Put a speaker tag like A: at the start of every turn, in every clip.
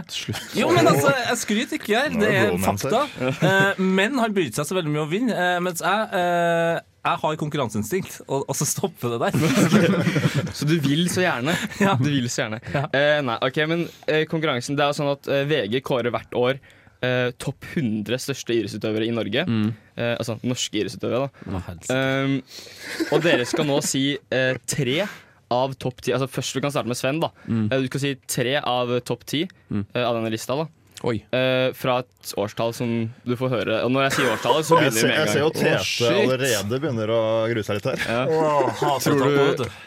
A: Jo, men altså, jeg skryter ikke her. Det er
B: Nå er det blåmann
A: fakta. Eh, Men han brydde seg så veldig mye om å vinne. eh, Mens jeg eh, jeg har konkurranseinstinkt, og, og så stopper det der.
C: Så du vil så gjerne.
A: Ja.
C: Du vil så gjerne.
A: Ja.
C: Eh, nei, ok, men eh, konkurransen Det er jo sånn at eh, VG kårer hvert år eh, topp 100 største idrettsutøvere i Norge.
A: Mm.
C: Eh, Ehm, altså norske idrettsutøvere, da. Um, og dere skal nå si eh, tre av topp ti. Altså først vi kan starte med Sven. da
D: Mm.
C: Eh, Du skal si tre av topp ti
D: Mm.
C: eh, av denne lista. da
D: Oi.
C: Eh, Fra et årstall som du får høre. Og når jeg sier årstallet, så
B: Jeg
C: begynner
B: ser,
C: vi med
B: jeg ser jo
C: en gang.
B: Tete allerede begynner å grue seg litt her.
C: Åh, hater å ta på, vet du.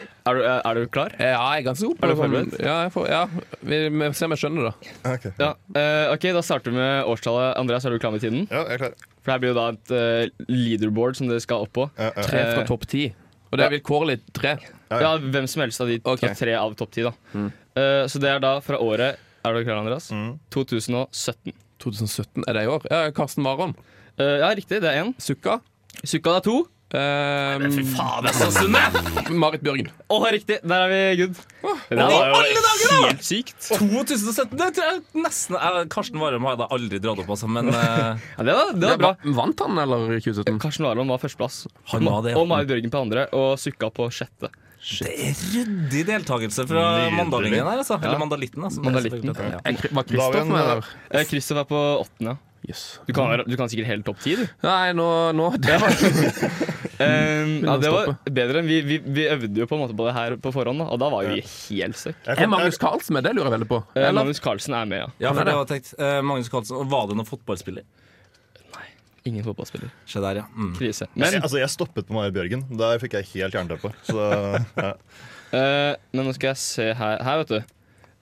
C: Er du, klar?
D: Ja, jeg er ganske god. på
C: Er du
D: det, men-
C: forberedt?
D: Ja, jeg får, ja. Vi, vi ser om jeg skjønner det.
C: Ja, eh, ok, Da starter vi med årstallet. Andreas, er du klar med tiden?
B: Ja, jeg er klar
C: For det her blir jo da et eh, leaderboard som dere skal opp på.
D: Tre fra topp ti. Eh, Og det er vilkårlig tre?
C: Ja, hvem som helst av de
D: Ok.
C: tre av topp ti. da Eh, Så det er da fra året Er du klar, Andreas? 2017.
D: 2017 er det i år? Ja, Karsten Warholm.
C: Eh, ja, riktig. Det er én.
D: Sukka.
C: Sukka, det er to.
D: Um, Fy
C: faen, det er så sunne!
D: Marit Bjørgen.
C: Å, riktig. Der er vi good. Det
A: i
C: der var
A: alle dager,
C: jo
A: da!
C: helt sykt.
A: 2017, det tror jeg nesten eh, Karsten Warholm har jeg da aldri dratt opp, altså, men
C: det var, det var bra.
D: Vant han, eller 2017?
C: Karsten Warholm var førsteplass.
A: Han var det, ja.
C: Og Marit Bjørgen på andre, og Sukka på sjette.
A: Det er ryddig deltakelse fra
C: Nydelig.
A: mandalingen her, altså.
C: Ja.
A: Eller mandalitten, altså.
C: Mandalitten.
A: Ja.
D: Er Kri- var Kristoff Da har vi en, med, eller?
C: Eh, Kristoff er på åttende. Du, kan, være- du kan sikkert hele topp ti, du.
D: Nei, nå, nå det var
A: Mm.
C: Um, ja, det var bedre enn vi, vi, vi øvde jo på en måte på det her på forhånd, da, og da var jo vi helt stuck.
D: Er Magnus Carlsen med? Det lurer jeg veldig på.
C: Eh,
D: Eller?
C: Magnus Carlsen er med, ja.
A: Ja, for det var tenkt. Eh, Magnus Carlsen, og var det noen fotballspiller?
C: Ingen fotballspiller.
A: Se der, ja. Mm.
C: Krise.
B: Men,
C: Men-
B: jeg, altså, jeg stoppet på Marit Bjørgen. Der fikk jeg helt jernteppe. Så ja.
C: Eh, men nå skal jeg se her. Her, vet du.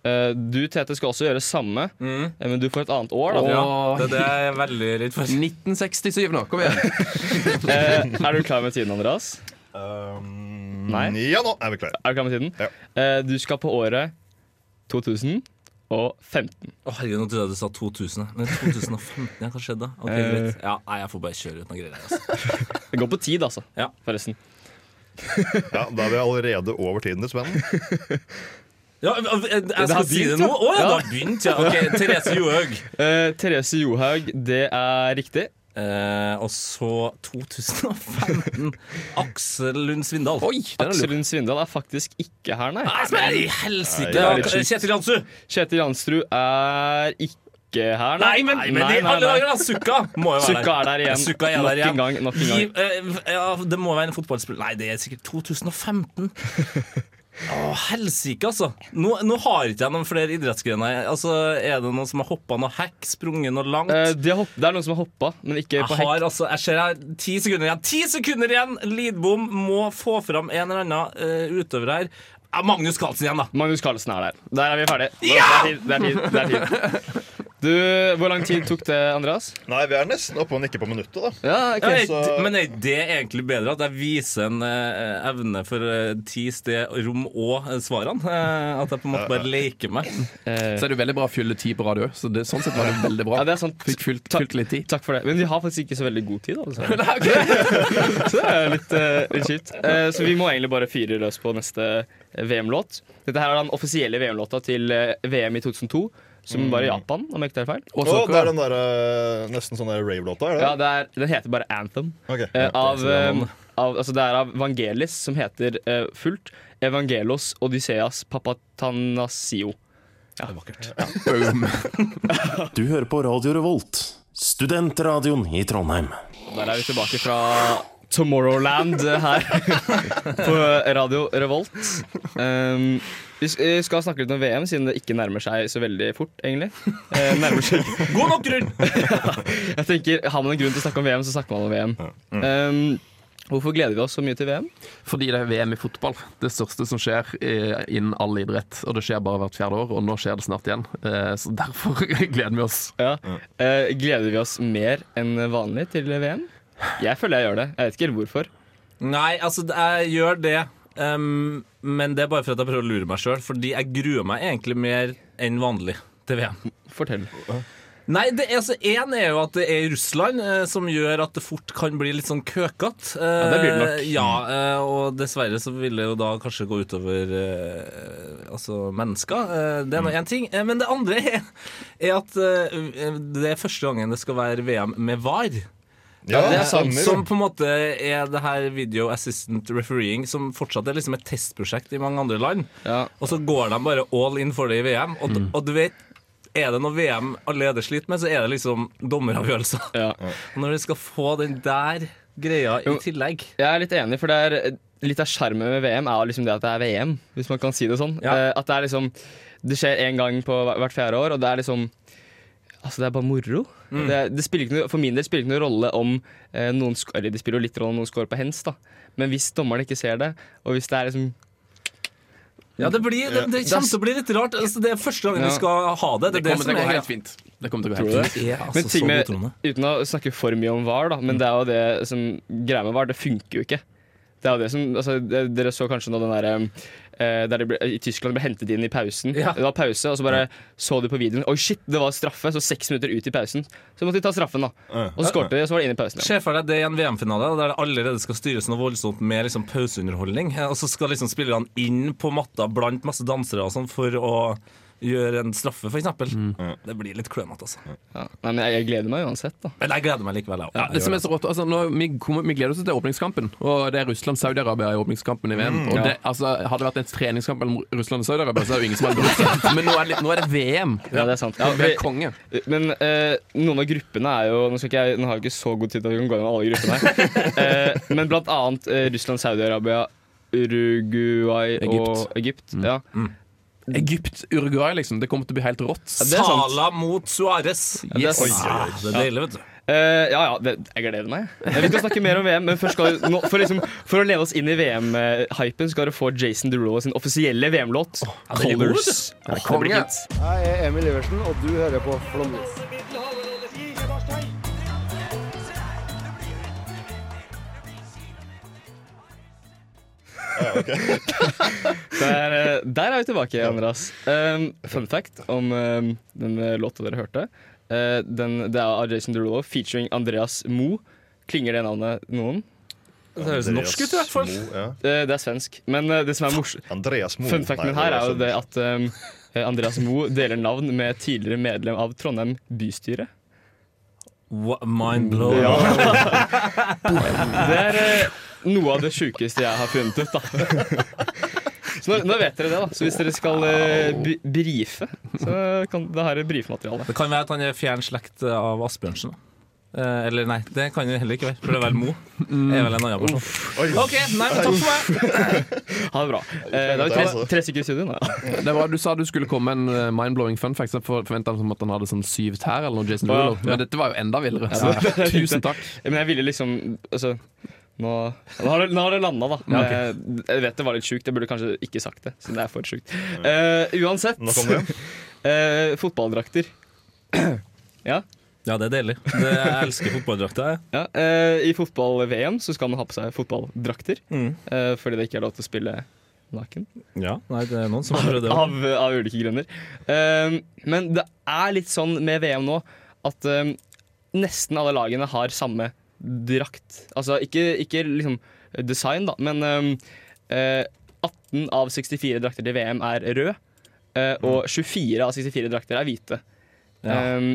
C: Eh, du, Tete, skal også gjøre det samme,
A: Mm.
C: eh, men du får et annet år. da
A: Ja, det, det er jeg veldig redd for.
D: 1967 nå. Kom igjen.
C: Eh, Er du klar med tiden, Andreas? Nei?
B: Ehm, Ja, nå er vi klare.
C: Er du klar med tiden? Eh, du skal på året 2015.
A: Å, herregud, nå trodde jeg du sa 2000. ja. Men 2015, ja, hva skjedde da? Ok,
C: Eh.
A: greit. Ja, nei, jeg får bare kjøre uten noe greier her, altså.
C: Det går på tid, altså. Forresten.
B: ja, da er vi allerede over tiden, dessverre.
A: Ja, jeg, jeg
C: Det har
A: skal si det
C: begynt,
A: nå?
C: ja.
A: Å ja, det har
C: Ja.
A: begynt, ja. Ok, Therese Johaug.
C: Eh, Therese Johaug, det er riktig.
A: Eh, og så 2015. Aksel Lund Svindal.
D: Oi,
C: Aksel Lund Svindal er faktisk ikke her, nei.
A: Nei, men i helsike.
C: Det er litt sjukt.
A: Kjetil Jansrud.
C: Kjetil Jansrud er ikke her,
A: Nei, men, men i alle dager, da! Sukka må jo være
C: Sukka er der igjen.
A: Sukka er
C: Nok
A: der igjen.
C: en gang, nok en gang.
A: Gi- eh, ja, det må være en fotballspiller Nei, det er sikkert 2015. Å, helsike, altså. Nå, nå har ikke jeg noen flere idrettsgrener. her. Altså, Er det noen som har hoppa noe hekk, sprunget noe langt?
C: Eh, det, er hopp, det er noen som har hoppa, men ikke på
A: Jeg
C: hekk.
A: har altså, jeg ser her, ti sekunder igjen. Ti sekunder igjen! Lidbom må få fram en eller annen eh, utøver her. Ja, Magnus Carlsen igjen, da.
C: Magnus Carlsen er der. Der er vi ferdige.
A: Ja!
C: Det er tid. Det er tid. Det er tid. Du, hvor lang tid tok det, Andreas?
B: Nei, vi er nesten oppe og nikker på minuttet, da.
C: Ja, ok,
A: Ja,
C: så...
A: Men er det egentlig bedre at jeg viser en eh, evne for eh, ti sted, rom og eh, svarene? Eh, at jeg på en måte bare leker meg?
D: Så er det jo veldig bra å fylle ti på radio. Så det, sånn sett var det veldig bra.
C: Eh, Ja, det er sant.
D: Fikk fylt, fylt litt tid.
C: Takk for det. Men vi har faktisk ikke så veldig god tid. Altså. så det er litt, eh, litt kjipt. Eh, så vi må egentlig bare fyre løs på neste eh, VM-låt. Dette her er den offisielle VM-låta til eh, VM i 2002, som var
B: Mm.
C: i Japan, om jeg ikke tar feil.
B: Å, det er den der, eh, nesten sånn der rave-låta, er det?
C: Ja, det er, den heter bare Anthem.
B: Ok.
C: Eh, av,
B: Det er
C: eh,
B: sånn.
C: av, altså det er av Vangelis, som heter eh, fullt Evangelos Odysseas Papatanasio. Ja. Det er vakkert.
E: Du hører på Radio Revolt, studentradioen i Trondheim.
C: Der er vi tilbake fra Tomorrowland eh, her på Radio Revolt. Um, vi s- eh, skal snakke litt om VM, siden det ikke nærmer seg så veldig fort, egentlig. Eh, nærmer seg ikke.
A: God nok grunn!
C: Jeg tenker, Har man en grunn til å snakke om VM, så snakker man om VM. Um, hvorfor gleder vi oss så mye til VM?
D: Fordi det er VM i fotball. Det største som skjer eh, innen all idrett. Og det skjer bare hvert fjerde år, og nå skjer det snart igjen. Eh, Så derfor gleder vi oss.
C: Ja. Eh, gleder vi oss mer enn vanlig til VM? Jeg føler jeg gjør det. Jeg vet ikke helt hvorfor.
A: Nei, altså, jeg gjør det. em, men det er bare for at jeg prøver å lure meg sjøl, fordi jeg gruer meg egentlig mer enn vanlig til VM.
C: Fortell.
A: Nei, det er, altså, en er jo at det er i Russland, eh, som gjør at det fort kan bli litt sånn køkete.
C: Ja, det blir det nok.
A: Ja, eh, og dessverre så vil det jo da kanskje gå utover eh, altså mennesker. Eh, det er
C: Mm.
A: nå én ting. Eh, men det andre er, er at eh, det er første gangen det skal være VM med VAR.
B: Ja, det stemmer.
A: Som på en måte er det her video assistant refereeing, som fortsatt er liksom et testprosjekt i mange andre land. Og så går de bare all in for det i VM. Og,
C: Mm.
A: og du vet, er det noe VM allerede sliter med, så er det liksom dommeravgjørelser.
C: Ja.
A: Og Når du skal få den der greia i tillegg
C: Jeg er litt enig, for det er litt av skjermen med VM er liksom det at det er VM, hvis man kan si det sånn. Eh, At det er liksom Det skjer én gang på hver- hvert fjerde år, og det er liksom Altså, det er bare moro.
F: Mm.
C: Det, det spiller ikke noe, for min del spiller ikke noen rolle om eh, noen sk- Eller det spiller jo litt rolle om noen scorer på hens, da. Men hvis dommeren ikke ser det, og hvis det er liksom
A: Ja, det, blir, det, det kommer til å bli litt rart. Altså, det er første gangen
C: Ja.
A: vi skal ha det. Det, er
C: Det
A: det
C: kommer
A: som
C: til å gå
A: er
C: helt
A: greia.
D: fint. Det kommer til å gå
C: Tror
D: helt
C: du det?
D: fint. Ja, altså,
C: men ting
D: så
C: med,
D: utroende.
C: uten å snakke for mye om VAR, da, men det er jo det som greia med VAR, det funker jo ikke. Det er jo det som, altså, det, dere så kanskje nå den der, eh, der de ble, I Tyskland ble hentet inn i pausen. Det var pause, og så bare så de på videoen. Oi, shit, det var straffe! Så seks minutter ut i pausen. Så måtte de ta straffen, da. Og så skårte de, og så var det inn i pausen.
A: Se for deg det er en VM-finale der det allerede skal styres noe voldsomt med liksom pauseunderholdning. Og så skal liksom spillerne inn på matta blant masse dansere og sånn for å gjøre en straffe, f.eks.
C: Mm.
A: Det blir litt klønete, altså.
C: Ja. Nei, men jeg, jeg gleder meg uansett, da.
A: Men jeg gleder meg likevel, jeg
D: Ja, det som er så rått, altså, nå, vi, kommer, vi gleder oss til åpningskampen, og det er Russland-Saudi-Arabia i åpningskampen i VM.
A: Mm,
D: og
A: ja.
D: det, altså, hadde det vært en treningskamp mellom Russland og Saudi-Arabia, så er det jo ingen som hadde brydd seg. Men nå er, det, litt- nå er det VM.
C: Ja, det er sant.
D: Ja,
C: Ja,
D: vi er
C: fordi-
D: konge.
C: Men eh, noen av gruppene er jo Nå, skal ikke jeg, nå har jeg ikke så god tid til at vi kan gå gjennom alle gruppene her. Eh, men blant annet eh, Russland, Saudi-Arabia, Uruguay og Egypt.
G: Mm.
C: Ja.
D: Egypt, Uruguay, liksom. Det kommer til å bli helt rått.
C: Ja, det er sant.
A: Sala mot Suárez.
C: Ja, det er sant.
A: Ah, det er deilig, vet du.
C: Eh, ja, ja, det, jeg gleder meg. Eh, Vi skal snakke mer om VM, men først skal, nå, for, liksom, for å leve oss inn i VM-hypen skal dere få Jason Derulo sin offisielle VM-låt.
G: det er god, vet
C: Colours.
G: du.
C: Ja, det blir fint.
G: Jeg er Emil Iversen, og du hører på Flåmlys.
C: der, eh, der er vi tilbake, Andreas. Um, fun fact om um, den eh, låta dere hørte. Eh, den, det er av Jason Derulo featuring Andreas Mo. Klinger det navnet noen?
A: Det høres Andreas norsk ut i hvert fall. Moe, ja.
C: Eh, det er svensk. Men eh, det som er morsomt
B: Andreas Moe.
C: Fun facten
B: Nei,
C: min her er jo
B: det sånn-
C: det at um, eh, Andreas Mo deler navn med tidligere medlem av Trondheim bystyre.
A: What, mind blow.
C: Ja. Det er eh, noe av det sjukeste jeg har funnet ut, da. Så nå, nå vet dere det, da. Så hvis dere skal eh, bri- brife, så kan det her er brifmaterialet.
A: Det kan være at han er fjern slekt av Asbjørnsen. da. Eh, eller nei, det kan det heller ikke være, for det er vel Mo. Er vel en annen person. OK, nei, men takk for meg.
C: Ha det bra. Eh, da har vi tre,
A: altså.
C: tre stykker i studio nå. ja.
D: Det var, du sa du skulle komme med en eh, mind-blowing fun fact. så Jeg forventa at han hadde sånn syv tær eller noe Jason Derulo,
C: Å, ja.
D: men dette var jo enda villere.
C: Ja, det-
D: Så, tusen takk.
C: Men jeg ville liksom Altså, nå, nå har det, nå har det landa, da.
D: Ja, ok.
C: jeg, jeg vet det var litt sjukt. Jeg burde kanskje ikke sagt det, siden det er for sjukt. Eh, uansett
A: Nå kommer det.
C: eh, Fotballdrakter. ja?
A: Ja, det er deilig. Det, jeg elsker fotballdrakta. jeg.
C: Ja, eh, I fotball-VM så skal man ha på seg fotballdrakter.
A: Mm.
C: eh, fordi det ikke er lov til å spille naken.
A: Ja, nei, det er noen som har prøvd det.
C: Av, av ulike grunner. Eh, men det er litt sånn med VM nå at eh, nesten alle lagene har samme drakt. Altså ikke, ikke liksom design, da, men eh, eh, 18 av 64 drakter til VM er rød, eh, og 24 av 64 drakter er hvite.
A: Ja.
C: Eh,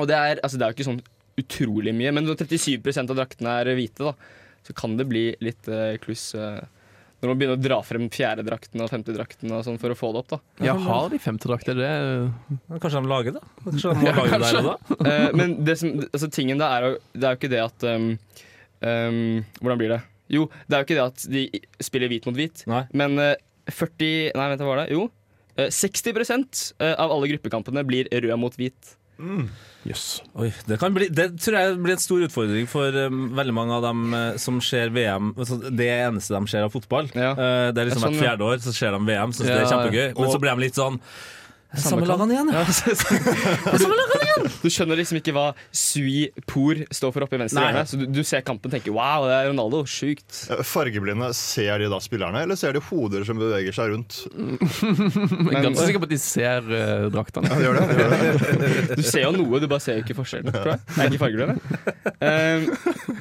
C: og det er, altså, det er jo ikke sånn utrolig mye, men når 37 av draktene er hvite, da, så kan det bli litt eh, kluss eh, når man begynner å dra frem fjerdedrakten og femtedrakten og sånn for å få det opp. da
D: Ja, har de femtedrakter? Det
A: Kanskje de lager det? Kanskje de må lage det der og da?
C: Eh, men det som, altså, tingen da er jo, det er jo ikke det at um, um, Hvordan blir det? Jo, det er jo ikke det at de spiller hvit mot hvit, men eh, 40 Nei, vent, hva var det? Jo. eh, 60 av alle gruppekampene blir rød mot hvit.
A: Oi, det, kan bli, det tror jeg blir en stor utfordring for um, veldig mange av dem eh, som ser VM. altså, Det eneste de ser av fotball. Eh, det er liksom
C: Sånn,
A: Hvert fjerde år så ser de VM, syns det er
C: Ja,
A: kjempegøy.
C: ja.
A: Men
C: Og-
A: så blir de litt sånn
C: Samme
A: Samme lagene igjen, ja.
C: Du skjønner liksom ikke hva Sui Por står for oppe i venstre
B: Nei.
C: hjørne. Så du, du ser kampen og tenker 'wow, det er Ronaldo'. Sjukt.
B: Eh, Fargeblinde, ser de da spillerne, eller ser de hoder som beveger seg rundt?
D: Jeg er ganske sikker på at de ser eh, draktene.
B: Ja, gjør det,
C: Du ser jo noe, du bare ser jo ikke forskjellen. Tror jeg. Det er ikke fargeblinde. Um,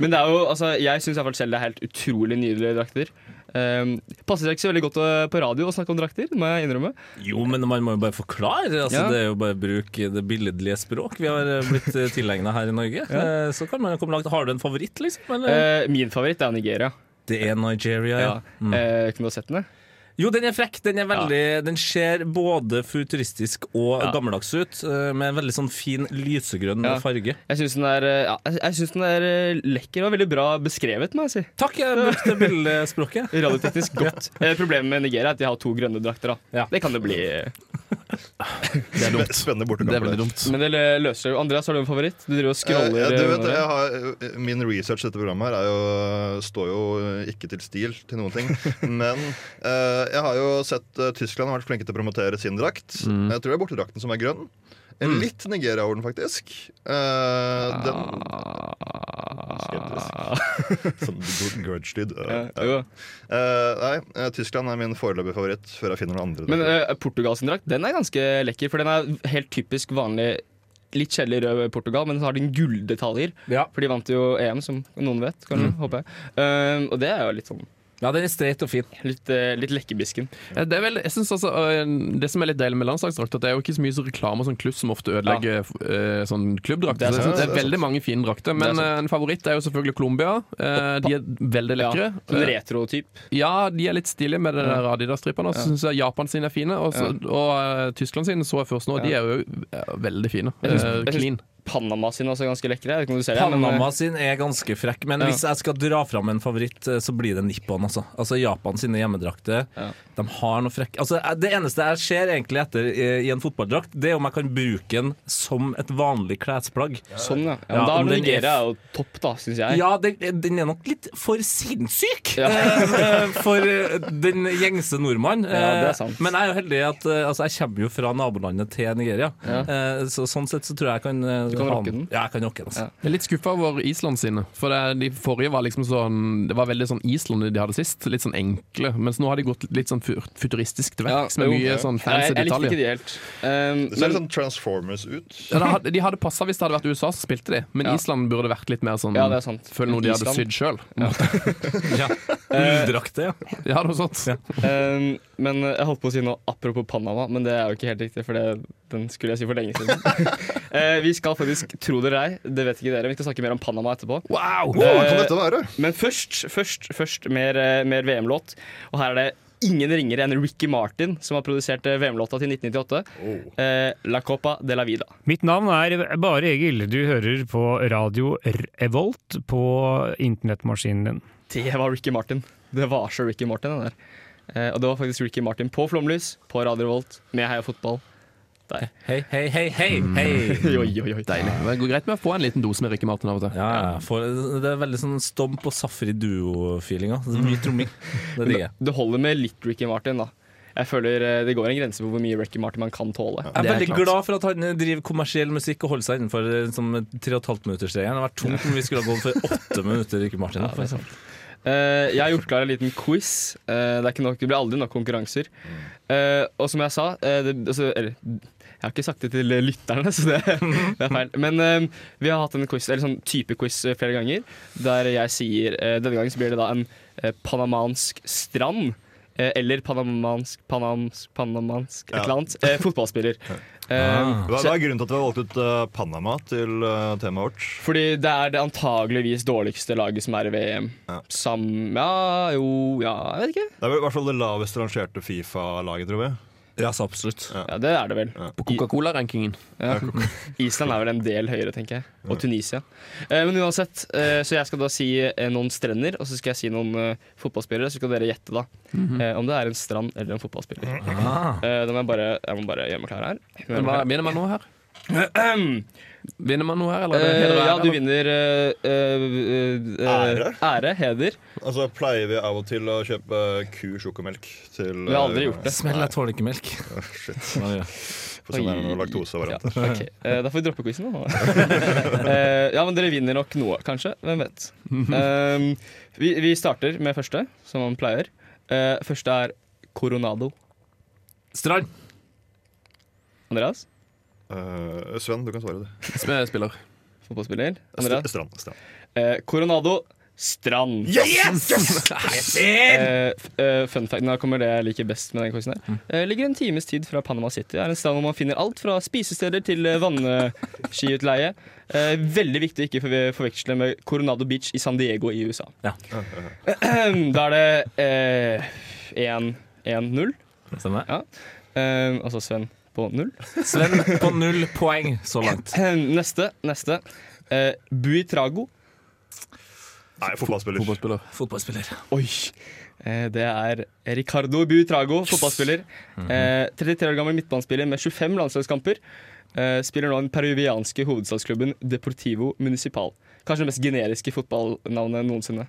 C: men det er jo, altså, jeg syns selv det er helt utrolig nydelige drakter. Um, passer seg ikke så veldig godt eh, på radio å snakke om drakter, må jeg innrømme.
A: Jo, men man må jo bare forklare. Altså,
C: Ja.
A: Det er jo bare å bruke det billedlige språk vi har eh, blitt eh, tilegnet her i Norge. Eh, Så kan man jo komme langt. Har du en favoritt, liksom? Eller?
C: Eh, min favoritt er Nigeria.
A: Det er Nigeria, ja.
C: Eh, kunne du ha sett den?
A: Jo, den er frekk. Den, er veldig, den ser både futuristisk og
C: Ja.
A: gammeldags ut, eh, med en veldig sånn fin lysegrønn
C: Ja.
A: farge.
C: Jeg syns den, er, eh, ja, jeg- jeg synes den er eh, lekker og veldig bra beskrevet, må jeg si.
A: Takk, jeg brukte billedspråket.
C: Radioteknisk godt. Eh, Problemet med Nigeria er at de har to grønne drakter. Da. Det kan det bli. eh,
B: Det er dumt. Spennende bortekamp.
C: Det er veldig dumt. Men det løser jo Andreas, har du en favoritt? Du driver og
B: Eh,
C: scroller.
B: ja, du
C: eh,
B: vet,
C: nå.
B: jeg har, min research til dette programmet her er jo, står jo ikke til stil til noen ting. Men eh, jeg har jo sett eh, Tyskland har vært flinke til å promotere sin drakt.
H: Mm.
B: Jeg tror det er bortedrakten som er grønn. En Litt Nigeria-orden, faktisk. Eh, den
C: Ah.
B: Skeptisk. Sånn gr- grudge-lyd. eh,
C: Ja,
B: ja. Eh, nei, eh, Tyskland er min foreløpige favoritt, før jeg finner noen andre.
C: Men eh, Portugal sin drakt den er ganske lekker, for den er helt typisk vanlig Litt kjedelig rød Portugal, men så har den gulldetaljer. For de vant jo EM, som noen vet. Kan
A: Mm.
C: håper jeg. Eh, og det er jo litt sånn
A: Ja, den er streit og fin.
C: Litt, eh, litt lekkebisken.
D: Ja, Det, er vel, jeg synes altså, øh, det som er litt deilig med landslagsdrakter, det er jo ikke så mye så reklame og sånn kluss som ofte ødelegger øh, sånn klubbdrakter.
C: Det er
D: Så
C: sant.
D: det, er
C: Det er
D: veldig mange fine
C: Det er
D: drakter. Men
C: sant.
D: øh, en favoritt er jo selvfølgelig Colombia. Eh, de er veldig lekre. Eh,
C: Ja, sånn retrotyp.
D: Ja, de er litt stilige med den der Adidas-strippene. Og
C: Ja.
D: så syns jeg Japan sine er fine, og, så, og øh, Tyskland sine så jeg først nå. De er jo øh, veldig fine.
C: Jeg
D: Eh,
C: synes- jeg
D: clean.
C: synes Panama sin også er ganske lekre. Jeg vet ikke om du ser det, men, eh,
A: Panama sin er ganske frekk, men
C: Ja.
A: hvis jeg skal dra fram en favoritt, eh, så blir det Nippon. Altså, altså Japan sine hjemmedrakter. De har noe frekk altså, eh, Det eneste jeg ser egentlig etter i i en fotballdrakt, det er om jeg kan bruke den som et vanlig klesplagg.
C: Sånn, ja. ja, men da
A: om
C: er
A: den er
C: Nigeria jo topp, da, syns jeg.
A: Ja, den, den er nok litt for sinnssyk
C: Ja.
A: eh, for eh, den gjengse nordmann.
C: Ja, det er
A: Eh,
C: sant.
A: Men jeg er jo heldig at eh, altså, jeg kommer jo fra nabolandet til Nigeria.
D: Ja.
A: Eh, Så, sånn sett så tror jeg jeg kan eh,
D: Du kan
A: ha
D: rocke den?
A: Ja, jeg kan rocke den. Altså.
D: Jeg er litt skuffa over Island sine. For det, De forrige var liksom sånn Det var veldig sånn Island de hadde sist. Litt sånn enkle. Mens nå har de gått litt sånn fut- futuristisk til verks med
C: jo.
D: mye sånn fancy
C: Nei, jeg likte
D: detaljer.
C: ikke de helt. Um,
B: Det ser litt sånn Transformers ut.
D: Ja, det hadde- de hadde passa hvis det hadde vært USA som spilte de, men
C: Ja.
D: Island burde vært litt mer sånn
C: Ja, det er sant.
D: Føl noe de hadde
C: Island.
D: sydd sjøl.
C: Ja. Eh.
A: Ulldrakte, ja.
D: Ja, noe sånt.
C: Um, men jeg holdt på å si noe apropos Panama, men det er jo ikke helt riktig, for det, den skulle jeg si for lenge siden. Eh, vi skal faktisk, tro det eller ei, det vet ikke dere, vi skal snakke mer om Panama etterpå.
D: Wow!
B: Wow, hva kan dette være?
C: Men først, først, først mer, eh, mer VM-låt. Og her er det ingen ringere enn Ricky Martin, som har produsert eh, VM-låta til 1998.
D: Oh.
C: Eh, La Copa de la Vida.
F: Mitt navn er Bare Egil. Du hører på radio Revolt på internettmaskinen din.
C: Det var Ricky Martin. Det var så Ricky Martin, den der. Eh, og det var faktisk Ricky Martin på Flomlys, på Radio Revolt, med Heia Fotball. Der.
A: Hei, hei, hei, hei,
C: Mm. hei. oi, oi, oi.
D: Deilig. Men Det går greit med å få en liten dose med Ricky Martin av og til.
A: Ja, ja, for- det er veldig sånn stomp og safri duo-feelinga. Det er Mye tromming. Det
C: Men
A: digger jeg.
C: det- det holder med litt Ricky Martin, da. Jeg føler eh, Det går en grense for hvor mye Ricky Martin man kan tåle.
A: Jeg er veldig glad for at han driver kommersiell musikk og holder seg innenfor eh, som 3,5 minutter-streken. Det hadde vært tungt om vi skulle ha gått for åtte minutter, Rikke Martin.
C: Ja, det er sant. Eh, jeg har gjort klar en liten quiz. Eh, det, er ikke nok, det blir aldri nok konkurranser. Eh, og som jeg sa eh, det, altså, Eller jeg har ikke sagt det til lytterne, så det, det er feil. Men eh, vi har hatt en quiz, eller sånn type quiz eh, flere ganger, der jeg sier eh, Denne gangen så blir det da en eh, panamansk strand. eh, eller panamansk Panamansk, panamansk et
B: Ja.
C: eller annet. eh, fotballspiller.
B: Ah.
C: Eh,
B: Hva,
C: så-
B: hva er grunnen til at vi har valgt ut eh, Panama til eh, temaet vårt?
C: fordi det er det antageligvis dårligste laget som er i VM. Sam... Ja, jo, ja, jeg vet ikke.
B: Det er vel i hvert fall det lavest rangerte Fifa-laget, tror jeg.
A: Ja, så absolutt.
B: Ja.
C: Ja, det er det vel.
D: På Coca-Cola-rankingen.
C: Ja. Island er vel en del høyere, tenker jeg. Og Tunisia. Eh, men uansett, eh, så jeg skal da si eh, noen strender, og så skal jeg si noen eh, fotballspillere. Så skal dere gjette, da.
D: Mhm.
C: eh, om det er en strand eller en fotballspiller.
D: Ah.
C: Eh, da må jeg bare, jeg må bare gjøre meg klar her.
D: Men hva, vinner man noe her? vinner man noe her, eller? er det heder
C: Eh,
D: og
C: ja,
D: ære,
C: du
D: eller?
C: vinner eh, eh, eh,
B: Ære?
C: ære, heder.
B: Altså Pleier vi av og til å kjøpe eh, ku sjokomelk til
C: Vi har aldri gjort det. Smell, jeg
A: tåler ikke melk.
B: Oh, Shit.
A: Ja.
B: Får se om det er noe laktosevariant.
C: Ja, ok. Eh, da får vi droppe quizen, da. Eh, ja, men dere vinner nok noe, kanskje. Hvem vet.
D: Mhm.
C: Eh, vi, vi starter med første, som man pleier. Eh, første er Coronado.
A: Strand.
C: Andreas?
B: Eh, Sven, du kan svare det.
D: Spiller.
C: Fotballspiller. Andreas?
B: Strand. strand.
C: Eh, Coronado Strand.
B: Yes! Yes!
C: Eh, f- eh, fun fact, nå kommer det jeg liker best med den quizen her.
B: Mm.
C: Eh, ligger en times tid fra Panama City. Det er en strand hvor man finner alt fra spisesteder til eh, vannskiutleie. Eh, veldig viktig å ikke forve- forveksle med Coronado Beach i San Diego i USA.
A: Ja.
C: eh, Da er det én 1-0.
A: Stemmer.
C: Ja. Eh, altså Sven på null.
A: Sven på null poeng så langt.
C: Neste. neste. Eh, Buitrago.
B: Nei, fotballspiller.
D: Fotballspiller.
C: Oi. Eh, det er Ricardo Buitrago, fotballspiller. Eh, 33 år gammel midtbanespiller med 25 landslagskamper. Eh, spiller nå i den peruvianske hovedstadsklubben Deportivo Municipal. Kanskje det mest generiske fotballnavnet noensinne.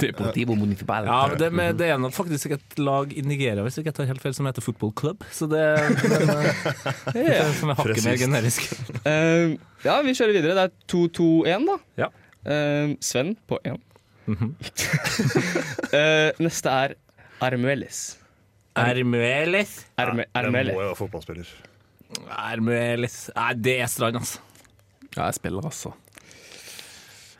D: Deportivo Municipal.
A: Ja, men det, med, det er nok faktisk et lag i Nigeria hvis ikke jeg tar helt feil, som heter Football Club. Så det, men, eh, det er som er hakket mer
C: Presist.
A: generisk.
C: Eh, ja, vi kjører videre. Det er 2-2-1, da. Eh, Sven på 1. Eh, neste er Armuelis.
A: Armuelis?
C: Arme,
B: Ja, det
C: Armuelis.
B: må jo være fotballspiller.
A: Armuelis Nei, det er Strand, altså.
D: Ja, jeg spiller, altså.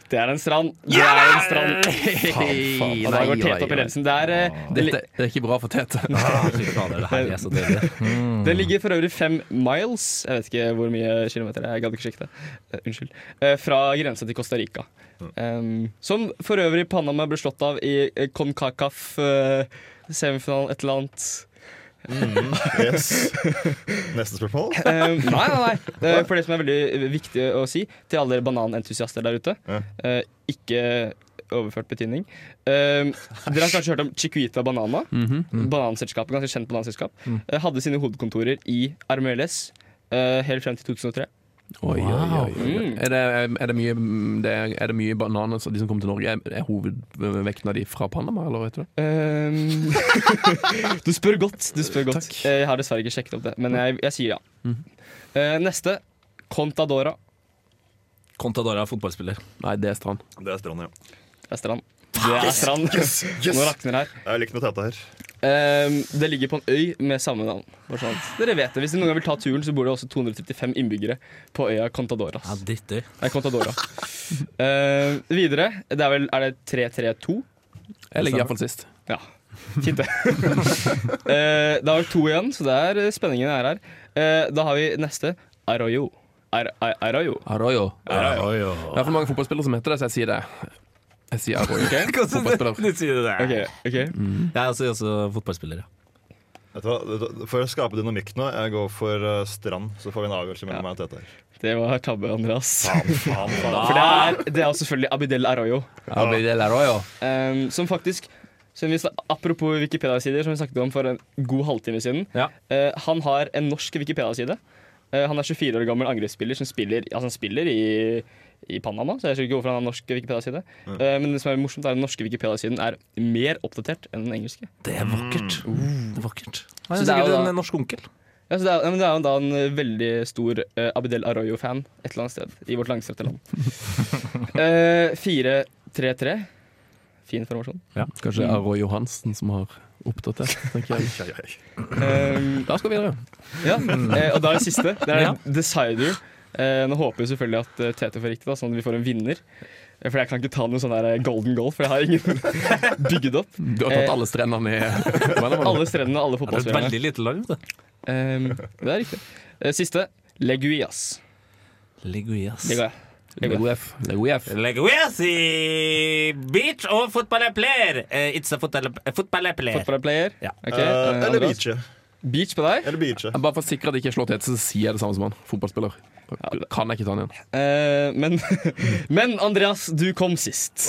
C: Det er en strand. Det er en strand.
D: Faen, faen.
C: Og da går
D: Nei,
C: Tete
D: oi,
C: opp
D: oi.
C: i ledelsen. Det er, eh, det li-
D: Dette det er ikke bra for Tete.
B: Ah.
D: Mm.
C: Den ligger for øvrig fem miles Jeg vet ikke hvor mye kilometer det er, jeg gadd ikke sjekke det. Eh, unnskyld. Eh, fra grensa til Costa Rica.
D: Mm.
C: Um, som for øvrig Panama ble slått av i eh, Concacaf eh, semifinalen, et eller annet.
B: Mm, yes. Neste spørsmål?
C: Eh, nei, nei, nei. Eh, For det som er veldig viktig å si til alle dere bananentusiaster der ute eh, Ikke overført betydning. Eh, dere har kanskje hørt om Chiquita Banana?
D: Mhm. Mm.
C: Bananselskapet, Ganske kjent bananselskap.
D: Mm.
C: eh, Hadde sine hovedkontorer i Armeles eh, helt frem til 2003.
D: Oi, oi, oi, Mm.
C: Wow.
D: oi. Er, det, er, det mye, det er, er det mye bananer som de som kommer til Norge, er, er hovedvekten av de fra Panama, eller vet du det?
C: Ehm. du spør godt. Du spør godt. Eh, Jeg har dessverre ikke sjekket opp det, men jeg, jeg sier ja. Eh, neste. Contadora.
A: Contadora er fotballspiller.
D: Nei, det er Strand.
B: Det er Strand, ja.
C: Det er Strand. Det er Strand.
B: Yes, yes.
C: Nå rakner det her.
B: Jeg liker noe tete her.
C: Ehm, det ligger på en øy med samme navn. Bare sånn at Dere vet det. Hvis dere noen gang vil ta turen, så bor det også 235 innbyggere på øya Contadoras.
A: Ja, drittøy.
C: Nei, Contadora. Ehm, videre. Det er vel Er det 3-3-2?
D: Jeg ligger i hvert fall sist.
C: Ja. Fint, det. Ehm, da har vi to igjen, så det er eh, spenningen er her. Ehm, da har vi neste. Arroyo. Ar Ar Arroyo.
D: Arroyo.
C: Arroyo.
D: Det er for mange fotballspillere som heter det, så jeg sier det. Jeg sier Arroyo.
C: Ok.
D: Fotballspiller.
A: Du sier det der.
C: ok.
A: Jeg er også, også fotballspiller, ja.
B: Vet du hva? For å skape dynamikk nå, jeg går for eh, Strand. Så får vi en avgjørelse mellom meg og Tete. her.
C: Det var tabbe, Andreas.
B: faen, faen.
C: For det er, det er selvfølgelig Abidel Arroyo.
D: Abidel Arroyo.
C: Ehm, som faktisk som vi, snak- apropos Wikipedia-sider, som vi snakket om for en god halvtime siden. eh, han har en norsk Wikipedia-side. Eh, han er 24 år gammel angrepsspiller som spiller, altså han spiller i, i Panama. Så jeg skjønner ikke hvorfor han har en norsk Wikipedia-side.
D: Mm.
C: Eh, men det som er morsomt er at den norske Wikipedia-siden er mer oppdatert enn den engelske.
A: Det er vakkert.
D: Mm. Uh,
A: Det er vakkert. Han
C: Så
A: er
C: det er
A: sikkert
C: jo da-
A: en norsk onkel.
C: Ja, så det, er, ja, men det er jo da en eh, veldig stor eh, Abidel Arroyo-fan et eller annet sted i vårt langstrakte land. Eh, 4-3-3. Fin formasjon.
D: Ja, kanskje det
C: Mm.
D: er Arroyo Johansen som har oppdatert, tenker jeg.
C: Eh,
D: Da skal vi videre.
C: Ja,
A: Mm.
C: eh, og da er det siste. Det er
D: Ja.
C: Decider. Eh, nå håper vi selvfølgelig at eh, Tete får riktig, da, sånn at vi får en vinner. Eh, For jeg kan ikke ta noe sånn der eh, golden goal, for jeg har ingen bygget opp.
D: Du har tatt alle strendene i
C: Alle strendene og alle
A: Det er et veldig
C: fotballspillerne.
A: lite lag, vet du.
C: Ehm, det er riktig. Eh, siste. Leguias.
A: Leguias.
C: Leguias.
D: Leguef. Leguef.
A: Leguias i beach og fotballplayer. Uh, it's a football- a footballplayer.
C: Fotballplayer?
A: Ja.
C: Ok, Eh, eh, eller Andreas? Beach på deg?
B: Eller beach.
D: Bare for å sikre at jeg ikke slår Tete, så sier jeg det samme som han. Fotballspiller. Kan jeg ikke ta han igjen.
C: Eh, men, men Andreas, du kom sist.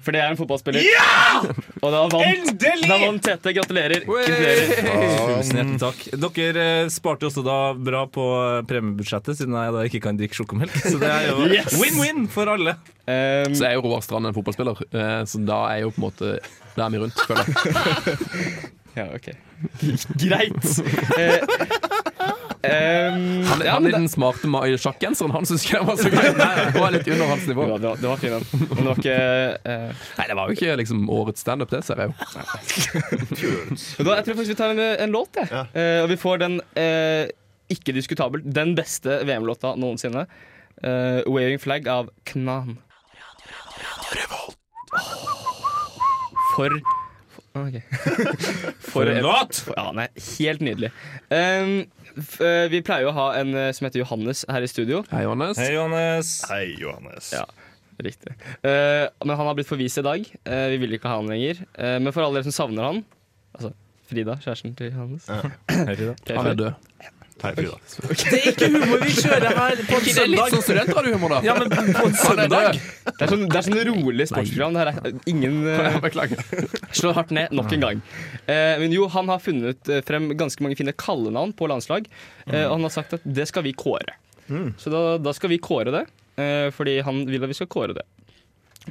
C: For det er en fotballspiller.
A: Ja!
C: Og da vant,
A: Endelig!
C: da vant Tete. Gratulerer.
A: Tusen
C: Gratulerer.
A: hjertelig takk. Dere eh, sparte jo også da bra på eh, premiebudsjettet, siden jeg da ikke kan drikke sjokomelk. Så det er jo
D: Yes!
A: win-win for alle.
C: Ehm,
D: Så er jo Roar Strand en fotballspiller, eh, så da er jo på en måte Da er vi rundt, føler jeg.
C: Ja, ok. Greit. Eh, ehm,
D: Han,
C: ja,
D: han
C: men
D: er den smarte ma- sjakkgenseren. Han syns ikke den var så gøy. Og er litt under hans nivå.
C: Det var, fin, den. Men det var ikke eh,
D: Nei, det var jo ikke liksom, årets standup, det, ser jeg jo.
C: Men Da, jeg tror faktisk vi tar en, en låt, jeg. Eh, og vi får den eh, ikke diskutabelt den beste VM-låta noensinne. Eh, 'Waving Flag' av Knan. For ok.
A: For en låt!
C: for- Ja, nei, helt nydelig. Um, f, eh, vi pleier jo å ha en eh, som heter Johannes her i studio.
D: Hei, Johannes.
A: Hei, Johannes.
B: Hei, Johannes.
C: Ja, riktig. Eh, men han har blitt forvist i dag. Eh, vi vil ikke ha han lenger. Eh, men for alle dere som savner han, altså Frida, kjæresten til Johannes.
D: Hei, Frida. Han er død.
B: Hei, Frida.
A: Det er ikke humor vi kjører her på en
D: Ikke det er litt
A: søndag.
D: sånn studentradiohumor, da?
A: Ja, men på en
D: Han er
A: søndag.
C: Det er sånn, det er sånn rolig sportsprogram. Det her er ingen eh, Slår hardt ned nok en gang. Eh, men jo, han har funnet eh, frem ganske mange fine kallenavn på landslag. eh, og han har sagt at det skal vi kåre.
I: Mm.
C: Så da, da skal vi kåre det, eh, fordi han vil at vi skal kåre det.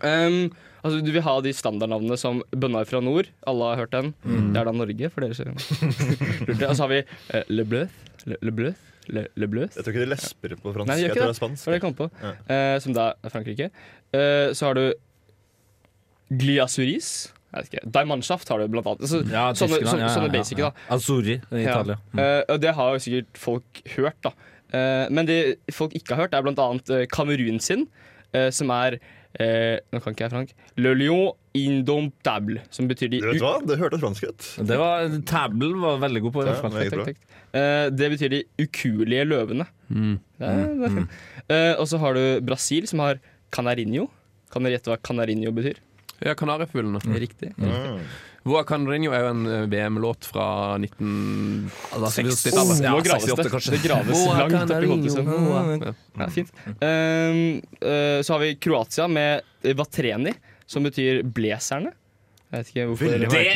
C: Ehm, altså, du vil ha de standardnavnene som Bønnar fra nord. Alle har hørt den. Det er da Norge, for dere som lurte. Og så har vi eh, Le Bleu. Le, Le Bleu. Le, Le Bleu.
B: Jeg tror ikke de lesper på fransk.
C: Nei, de gjør
B: jeg
C: ikke
B: tror
C: det.
B: det er spansk.
C: Var det jeg kom på. Eh, som da er Frankrike. Eh, så har du Gliasuris. Jeg vet ikke. Diamantschaft har du blant annet. Så,
A: Ja,
C: sånne,
A: Tyskland,
C: sånne,
A: ja, ja,
C: sånne
A: ja,
C: basic,
A: ja.
C: da.
A: Azzurri Ah, i
C: Ja.
A: Italia. Mm.
C: Eh, og det har jo sikkert folk hørt, da. Eh, men det folk ikke har hørt, er blant annet eh, Kamerun sin, eh, som er eh, Nå kan ikke jeg fransk. Le lion indomptable, som betyr de
B: Du vet hva? Det hørtes fransk ut.
A: Det var, Tabel var veldig god på i
C: Ja,
A: hvert fall.
C: meget bra. Eh, det betyr de ukuelige løvene. Det er, det er fint. Eh, og så har du Brasil, som har canarinho. Kan dere gjette hva canarinho betyr?
D: Ja, Kanarifuglene.
C: Riktig.
D: Mm. Voa Canarinho er jo en eh, VM-låt fra 1960-tallet.
C: Nå graves det. Det graves
D: Voa
C: langt opp i hodet.
D: Canarinho,
C: så- Mm.
D: Voa.
C: Ja, fint. Ehm, eh, så har vi Kroatia med Vatreni, som betyr blazerne. Jeg vet ikke
A: Det
C: hvorfor
A: er jo blytungt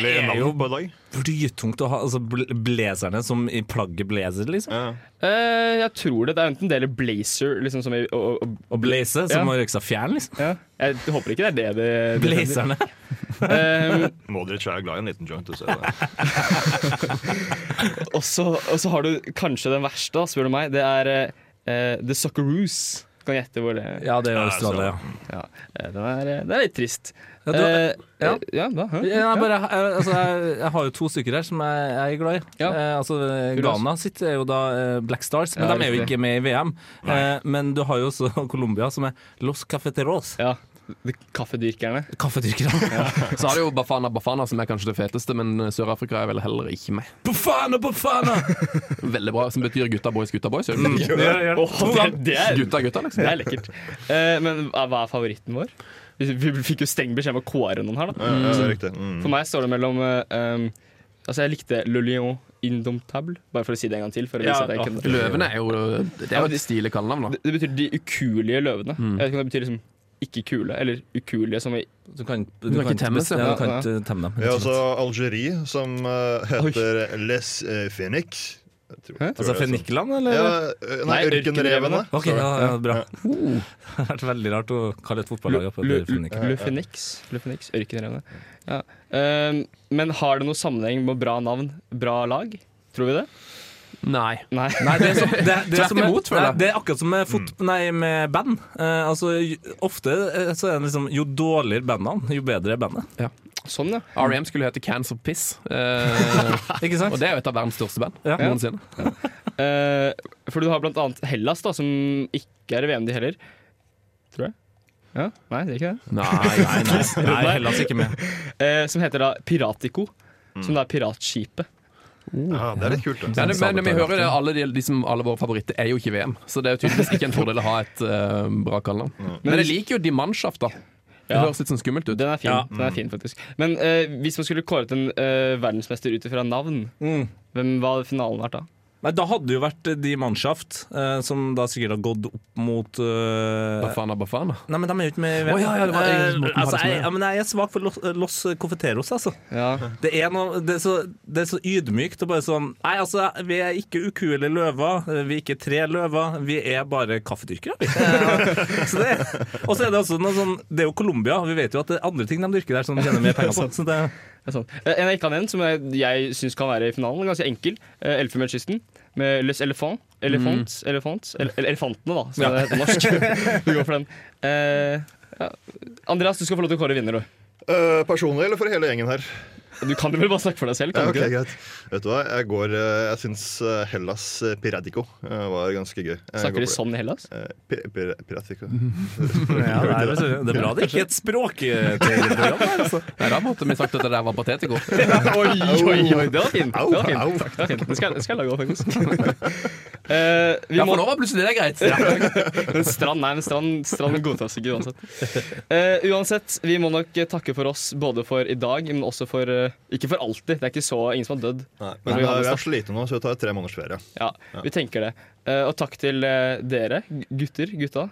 A: å ha altså, bl- blazerne som i plagget blazer, liksom.
C: Eh, jeg tror det. Det er enten det eller blazer. Liksom, som i, og, og,
A: Og blazer, som har røyksa fjern, liksom.
C: Ja. Jeg håper ikke det er det det
A: Blazerne.
C: Ehm,
B: Modric er glad i en liten joint. Du ser det.
C: og, så, og så har du kanskje den verste, da, spør du meg. Det er eh, The Socceroos. Kan jeg gjette hvor det
A: Ja, det er Australia, ja.
C: ja. eh, Den er, eh, den er litt trist.
A: Ja, du- Mm.
C: Eh,
A: ja.
C: eh, ja, hva? Hæ?
A: Jeg,
C: Ja.
A: bare, jeg, altså, jeg, jeg har jo to stykker her som jeg, jeg er glad i. Eh, altså, Ghana sitt er jo da eh, Black Stars, men
C: Ja,
A: de er jo
C: riktig.
A: ikke med i VM. Eh, men du har jo også Colombia, som er Los Cafeteros.
C: Ja, Kaffedyrkerne.
A: Kaffedyrkerne.
D: Så har du jo Bafana Bafana, som er kanskje det feteste, men Sør-Afrika er vel heller ikke med.
A: Bafana Bafana!
D: Veldig bra, som betyr gutta boys, gutta boys.
C: Mm, gjør det, gjør det. Åh, det- det er-
D: Gutta, gutta, liksom.
C: Det er lekkert. Eh, men hva hva er favoritten vår? Vi, vi fikk jo streng beskjed om å kåre noen her, da.
B: Ja, ja,
C: Så
B: det er riktig. Mm.
C: For meg står det mellom eh, um, Altså, jeg likte Le Lion Indomptable, bare for å si det en gang til. For å vise
D: Ja,
C: at jeg kunne.
D: Løvene er jo Det er jo et stilig kallenavn, da.
C: Det betyr de ukuelige løvene.
D: Mm.
C: Jeg vet ikke om det betyr liksom ikke kule, eller ukuelige som i
A: Du kan, ja, du kan ikke temme dem.
B: Vi har også Algerie, som eh, heter Les eh, Phoenix. Jeg tror- tror
A: Altså
B: det er sånn.
A: fenikeland, eller?
B: Ja, eh, nei, ørkenrevene.
A: Ok, ja, ja, bra. Det har vært veldig rart å kalle et fotballag opp etter fenikeland.
C: Lufenix. Lufenix, Ørkenrevene. Ja. Ehm, men har det noen sammenheng med bra navn, bra lag? Tror vi det?
D: Nei.
C: Nei,
A: Nei, det er, så, det, det, er
C: Tvert
A: som med-
C: imot, føler jeg.
A: nei, det er akkurat som med, fot, nei, med band. Eh, altså, jo- ofte eh, så er det liksom Jo dårligere bandene, jo bedre er bandet.
D: Ja.
C: Sånn, ja.
D: R.E.M. E skulle hete Cancer Piss. Eh,
A: Ikke sant?
D: Og det er jo et av verdens største band
A: Ja.
D: noensinne.
C: Eh, for du har blant annet Hellas, da, som ikke er i VM, de heller. Tror jeg. Ja? Nei, det er ikke det.
A: Nei, nei, nei. Nei, Hellas ikke med.
C: Eh, som heter da Piratico. Som da er piratskipet.
B: Ja, det er litt kult, da.
D: Men, men, men vi hører jo alle, de, de som, alle våre favoritter er jo ikke i VM, så det er jo tydeligvis ikke en fordel å ha et eh, bra kallenavn. Men jeg liker jo Dimanshaft, da. Det
C: Ja.
D: høres litt sånn skummelt ut.
C: Den er fin,
D: Ja.
C: den er fin faktisk. Men eh, hvis man skulle kåret en eh, verdensmester ut ifra navn, hvem hva hadde finalen vært da?
A: Nei, Da hadde det jo vært eh, de mannschaft, eh, som da sikkert har gått opp mot eh,
D: Bafana Bafana.
A: Nei, men de er jo ikke med i
D: Å, ja, ja, det var- jeg-
A: Eh,
D: Morten hadde
A: altså,
D: som
A: jeg,
D: med.
A: ja, men jeg er svak for Los, eh, los Cofeteros, altså.
C: Ja.
A: Det, er noe, det, er så, det er så ydmykt og bare sånn Nei, altså, vi er ikke ukuelige løver. Vi er ikke tre løver. Vi er bare kaffedyrkere. vi. Eh, så det, og så er det også noe sånn Det er jo Colombia. Vi vet jo at det er andre ting de dyrker der som de tjener mer penger på. Så det,
C: Det er sant. Eh, En jeg ikke har nevnt, som jeg, jeg syns kan være i finalen, ganske enkel. Eh, Elfenbenskysten med Les Elephant. Elefant,
D: Mm.
C: elefant, ele- ele- Elefantene, da, som
A: Ja.
C: det heter på norsk. Vi går for den. Eh, ja. Andreas, du skal få lov til å kåre vinner, du.
B: Eh, personlig eller for hele gjengen her?
C: Du kan vel bare snakke for deg selv? Kan
B: Ja,
C: du
B: ok,
C: ikke det?
B: greit. Vet du hva, jeg går eh, Jeg syns eh, Hellas eh, Piradico eh, var ganske gøy. Jeg
C: Snakker
B: går
C: de
B: for det.
C: sånn i Hellas?
B: Eh, Pir- pir- Piratico.
A: ja, det, er, vel- det er bra det ikke er et eh, språkprogram her, altså.
D: Nei, da måtte vi sagt at det der var patetico.
C: oi, oi, oi, det var fint. Det
B: Au,
C: var fint.
B: au.
C: Det var fint. Den skal, den skal jeg lage òg, faktisk. Eh, vi
D: Ja,
C: må-
D: for nå var plutselig det greit. Ja.
C: men strand, nei, men strand, strand godtas ikke uansett. Eh, uansett, vi må nok eh, takke for oss både for i dag, men også for eh, Ikke for alltid, det er ikke så ingen som har dødd.
B: Men
C: Når
B: vi
C: vi hadde
B: er
C: snakket.
B: slitne nå, så vi tar tre måneders ferie.
C: Ja, vi tenker det. Eh, og takk til eh, dere, gu- gutter, gutta,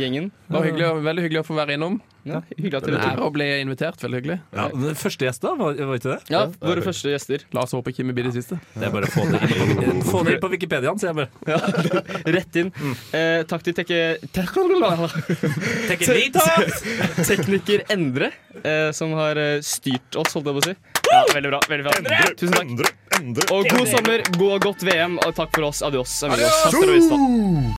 C: gjengen.
D: Det var hyggelig, og- veldig hyggelig å få være innom.
C: Ja, hyggelig at
D: det er en
C: dere
D: ære å bli invitert. Veldig hyggelig.
A: Ja, men første gjest, da? Var, var ikke det?
C: Ja, våre første gjester.
D: La oss håpe Kimmi blir de siste.
A: Det er bare å få det inn, få det inn på Wikipediaen, sier jeg bare.
C: Rett inn. Eh, takk til tekke... Tekniker- Tekniker Endre, eh, som har eh, styrt oss, holdt jeg på å si. Ja, veldig bra. veldig bra Tusen takk. Og god sommer, god og godt VM, og takk for oss. Adios. amigos. Hasta la vista.
H: Tjo!